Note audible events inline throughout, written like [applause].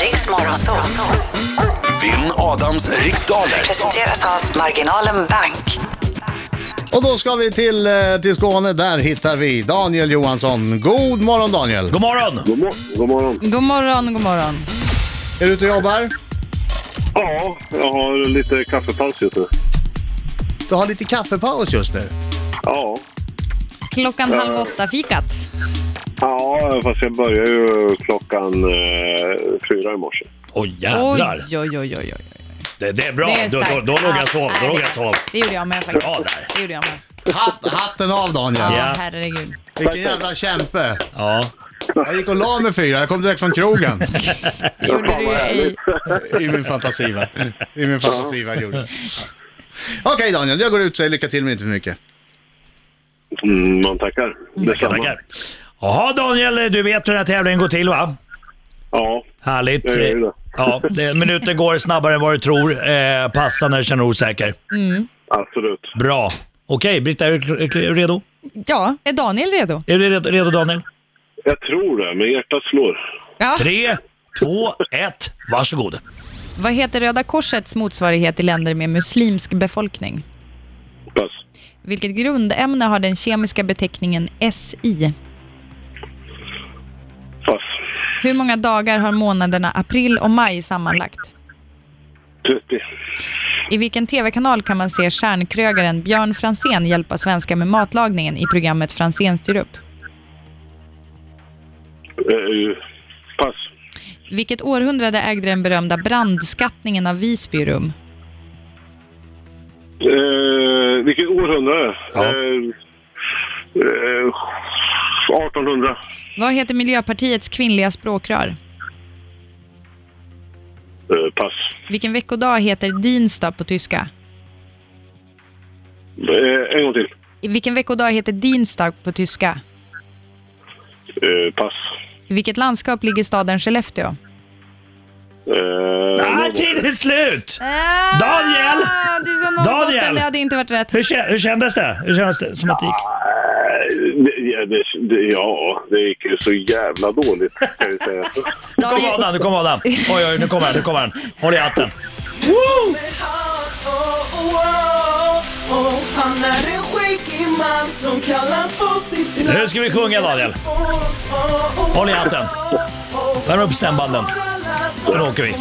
Riks Morgonzoo Vinn Adams riksdaler. presenteras av Marginalen Bank. Och då ska vi till, eh, till Skåne. Där hittar vi Daniel Johansson. God morgon Daniel! God morgon! God, mor- god morgon. God morgon, god morgon. Är du ute och jobbar? Ja, jag har lite kaffepaus just nu. Du har lite kaffepaus just nu. Ja. Klockan halv åtta fikat. Ja, fast jag börjar ju klockan eh, fyra i morse. Oj jävlar! Oj, oj, oj, oj, oj. Det, det är bra, Det är då, då, starkt. då låg jag och sov. Ja, Då nej, låg det- jag och sov. Det gjorde jag med faktiskt. Bra där. Det gjorde jag [laughs] med. Hat, hatten av Daniel! Ja, Ja. herregud. Vilken jävla kämpe! Ja. Jag gick och la mig fyra, jag kom direkt från krogen. Gjorde du ej. I min fantasivärld. I min fantasivärld gjorde jag. Okej Daniel, jag går ut och säger lycka till men inte för mycket. Mm, man tackar. Detsamma. Tackar. Jaha Daniel, du vet hur den här tävlingen går till va? Ja, Härligt. Jag gör det. Ja, det, minuten går snabbare än vad du tror. Eh, passa när du känner dig osäker. absolut. Bra. Okej, Britta, är du, kl- är du redo? Ja, är Daniel redo? Är du redo, redo Daniel? Jag tror det, men hjärtat slår. Ja. Tre, två, ett. Varsågod. Vad heter Röda Korsets motsvarighet i länder med muslimsk befolkning? Pass. Vilket grundämne har den kemiska beteckningen SI? Pass. Hur många dagar har månaderna april och maj sammanlagt? 30. I vilken tv-kanal kan man se stjärnkrögaren Björn Fransén hjälpa svenskar med matlagningen i programmet Fransén styr upp? Eh, pass. Vilket århundrade ägde den berömda brandskattningen av Visby rum? Eh, vilket århundrade? Ja. Eh, eh, 1800. Vad heter Miljöpartiets kvinnliga språkrör? Eh, pass. Vilken veckodag heter Dienstag på tyska? Eh, en gång till. I vilken veckodag heter Dienstag på tyska? Eh, pass. I vilket landskap ligger staden Skellefteå? Eh, Ah, Norrbotten. tiden är slut! Daniel! Ah, Du sa Norrbotten, Daniel! det hade inte varit rätt. Hur, kä- hur kändes det? Hur kändes det som att det gick? Eh, Det, ja, det, det, ja, det gick ju så jävla dåligt kan jag säga. [laughs] Nu kommer Adam, nu kommer Adam. Oj, oj, nu kommer han, nu kommer han. Håll i hatten. Han är en skäggig man som kallas på sitt Nu ska vi sjunga, Daniel. Håll i hatten. Värm upp stämbanden. Sen åker vi.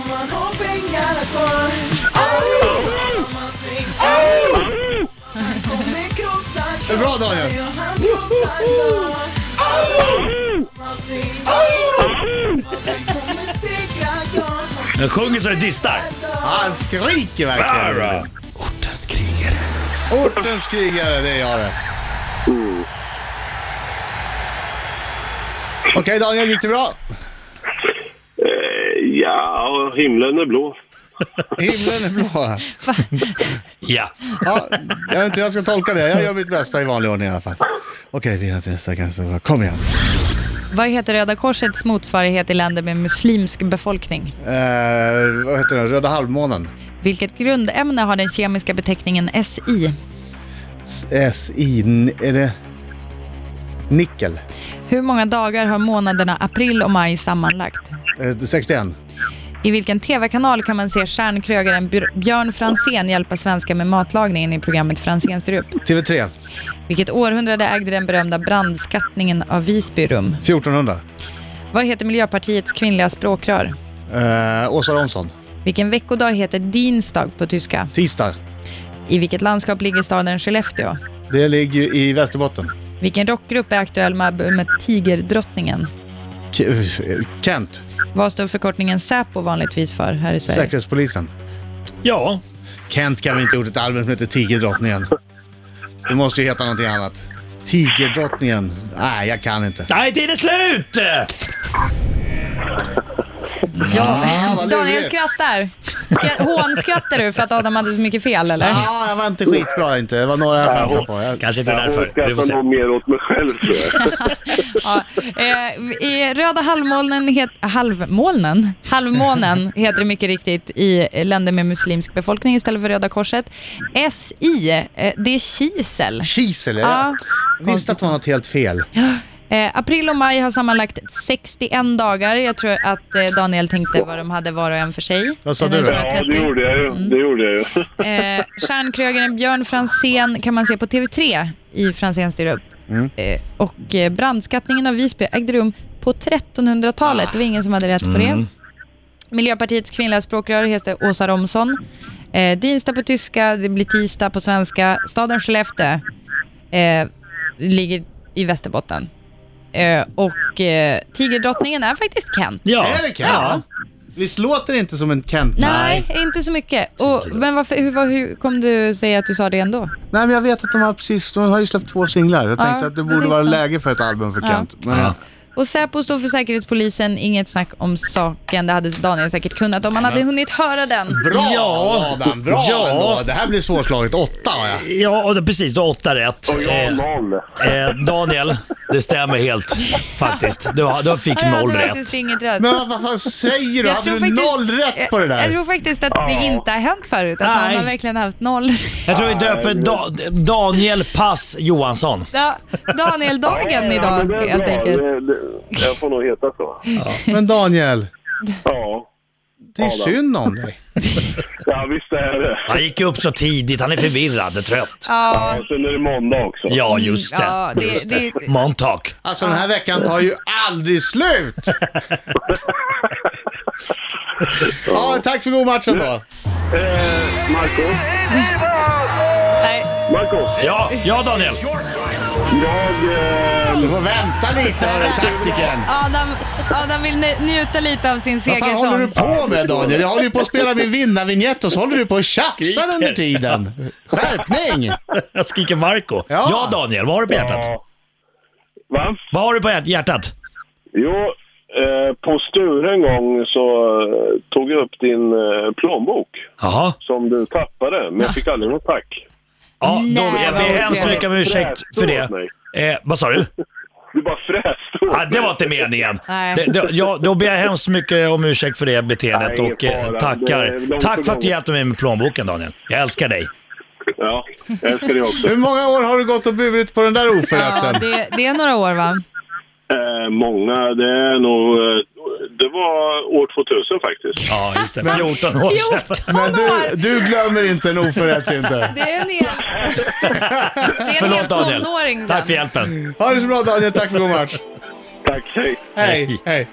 Det är bra, Daniel. Nu sjunger så det distar. Han skriker verkligen! Bra. Ortens krigare. Ortens krigare, det är jag det. Mm. Okej Daniel, gick det bra? Eh, ja, himlen är blå. Himlen är blå. Ja. Ja, jag vet inte hur jag ska tolka det. Jag gör mitt bästa i vanlig ordning i alla fall. Okej, vi har nästa ganska Kom igen. Vad heter Röda Korsets motsvarighet i länder med muslimsk befolkning? Eh, vad heter den? Röda halvmånen. Vilket grundämne har den kemiska beteckningen SI? SI... Är det... Nickel. Hur många dagar har månaderna april och maj sammanlagt? Eh, 61. I vilken tv-kanal kan man se stjärnkrögaren Björ- Björn Fransén hjälpa svenskar med matlagningen i programmet Fransén styr upp? TV3. Vilket århundrade ägde den berömda brandskattningen av Visby rum? 1400. Vad heter Miljöpartiets kvinnliga språkrör? Eh, Åsa Romson. Vilken veckodag heter Dienstag på tyska? Tisdag. I vilket landskap ligger staden Skellefteå? Det ligger ju i Västerbotten. Vilken rockgrupp är aktuell med albumet Tigerdrottningen? K- eh, Kent. Vad står förkortningen Säpo vanligtvis för här i Sverige? Säkerhetspolisen. Ja. Kent kan väl inte ha gjort ett album som heter Tigerdrottningen? Det måste ju heta någonting annat. Tigerdrottningen. Nej, jag kan inte. Nej, tiden är slut! Ja, Ah, vad [laughs] Daniel lurigt. skrattar. Skra- Hånskrattar du för att Adam hade så mycket fel eller? Ja, jag var inte skitbra inte. Det var några jag chansade på. Alltså, Jag... Kanske inte Jag därför. Vi får skrattar se. nog mer åt mig själv tror jag. Ja. Eh, i röda halvmånen, het, halvmånen, halvmånen heter det mycket riktigt i länder med muslimsk befolkning istället för Röda Korset. SI, eh, det är kisel. Kisel, Ja. jag visste att det var något helt fel. Eh, april och maj har sammanlagt 61 dagar. Jag tror att eh, Daniel tänkte vad de hade var och en för sig. Vad sa Eh, du då? den Ja, det 130. gjorde jag ju. Mm. Det gjorde jag ju. Eh, Stjärnkrögaren Björn Fransén kan man se på TV3 i Franzéns styr upp. Eh, och eh, brandskattningen av Visby ägde rum på 1300-talet. Det var ingen som hade rätt på det. Miljöpartiets kvinnliga språkrör heter Åsa Romson. Eh, Dinsta på tyska, det blir tisdag på svenska. Staden Skellefteå eh, ligger i Västerbotten. Eh, och eh, Tigerdrottningen är faktiskt Kent. Ja. Är det Kent? Ja. Visst låter det inte som en Kent? Nej, inte så mycket. Och, men varför, hur, vad- hur kom du säga att du sa det ändå? Nej, men jag vet att de har precis, de har ju släppt två singlar. Jag tänkte att det jag borde tänkte vara så. läge för ett album för Kent. Men, Och Säpo står för Säkerhetspolisen, inget snack om saken. Det hade Daniel säkert kunnat om han hade hunnit höra den. Bra Ja. Adam, bra Ja. ändå. Det här blir svårslaget. Åtta har jag. Ja, och det- precis. Du har åtta rätt. Och jag har Eh, noll. eh, Daniel, det stämmer helt faktiskt. Du, har- du fick Han hade noll rätt. faktiskt inget rätt. Men vad- vad fan säger du? Jag Hade tror du faktiskt- noll rätt på det där? Jag tror faktiskt att det inte har hänt förut, att Nej. någon har verkligen haft noll. Jag tror vi döper da, Daniel Pass Johansson. Ja, Daniel-dagen Ja, men idag det är helt bra. enkelt. Det- det- Jag får nog heta så. Men Daniel, Ja. det är Adam. synd om dig. Ja, visst är det. Han gick upp så tidigt. Han är förvirrad och trött. Ja, Och sen är det måndag också. Ja, just det. Mm, ja, det- Just det- Montauk. Alltså den här veckan tar ju aldrig slut! ja, tack för god match ändå. Eh, Marco? Marco, Ja, ja Daniel. jag... Eh, Du får vänta lite, hörru taktiken. Adam, Adam vill nj- njuta lite av sin Vad fan segersång. håller du på med Daniel? Jag håller ju på att spela min vinnarvinjett och så håller du på och tjafsar Skriker. under tiden. Skärpning! Jag skriker Marco. Ja. Ja. Daniel, vad har du på hjärtat? ja. Va? Vad har du på hjärt- hjärtat? Jo, eh, på Sture en gång så eh, tog jag upp din eh, plånbok Jaha. som du tappade, men jag fick aldrig något tack. Ja, då, Nej, jag vad ber hemskt otrevligt. mycket om ursäkt för det. Fräste åt mig. Eh, vad sa [laughs] du? Du bara fräste åt Ah, det mig. var inte meningen. Nej. Det, det, ja, då ber jag hemskt mycket om ursäkt för det beteendet Nej, ingen och eh, fara. Det är tackar. långt Tack för att du gånget. hjälpte mig med plånboken Daniel. Jag älskar dig. Ja, jag älskar dig också. Hur många år har du gått och burit på den där Ja, oförrätten? det, det är några år va? Eh, många, det är nog... Eh, det var år 2000 faktiskt. Ja, just det. 14 år sedan. Men du, du glömmer inte en oförrätt inte. Det är [laughs] en hel, det är en hel Förlåt Daniel. tonåring sen. Tack för hjälpen. Ha det så bra Daniel, tack för god match. Tack, hej. Hej, hej.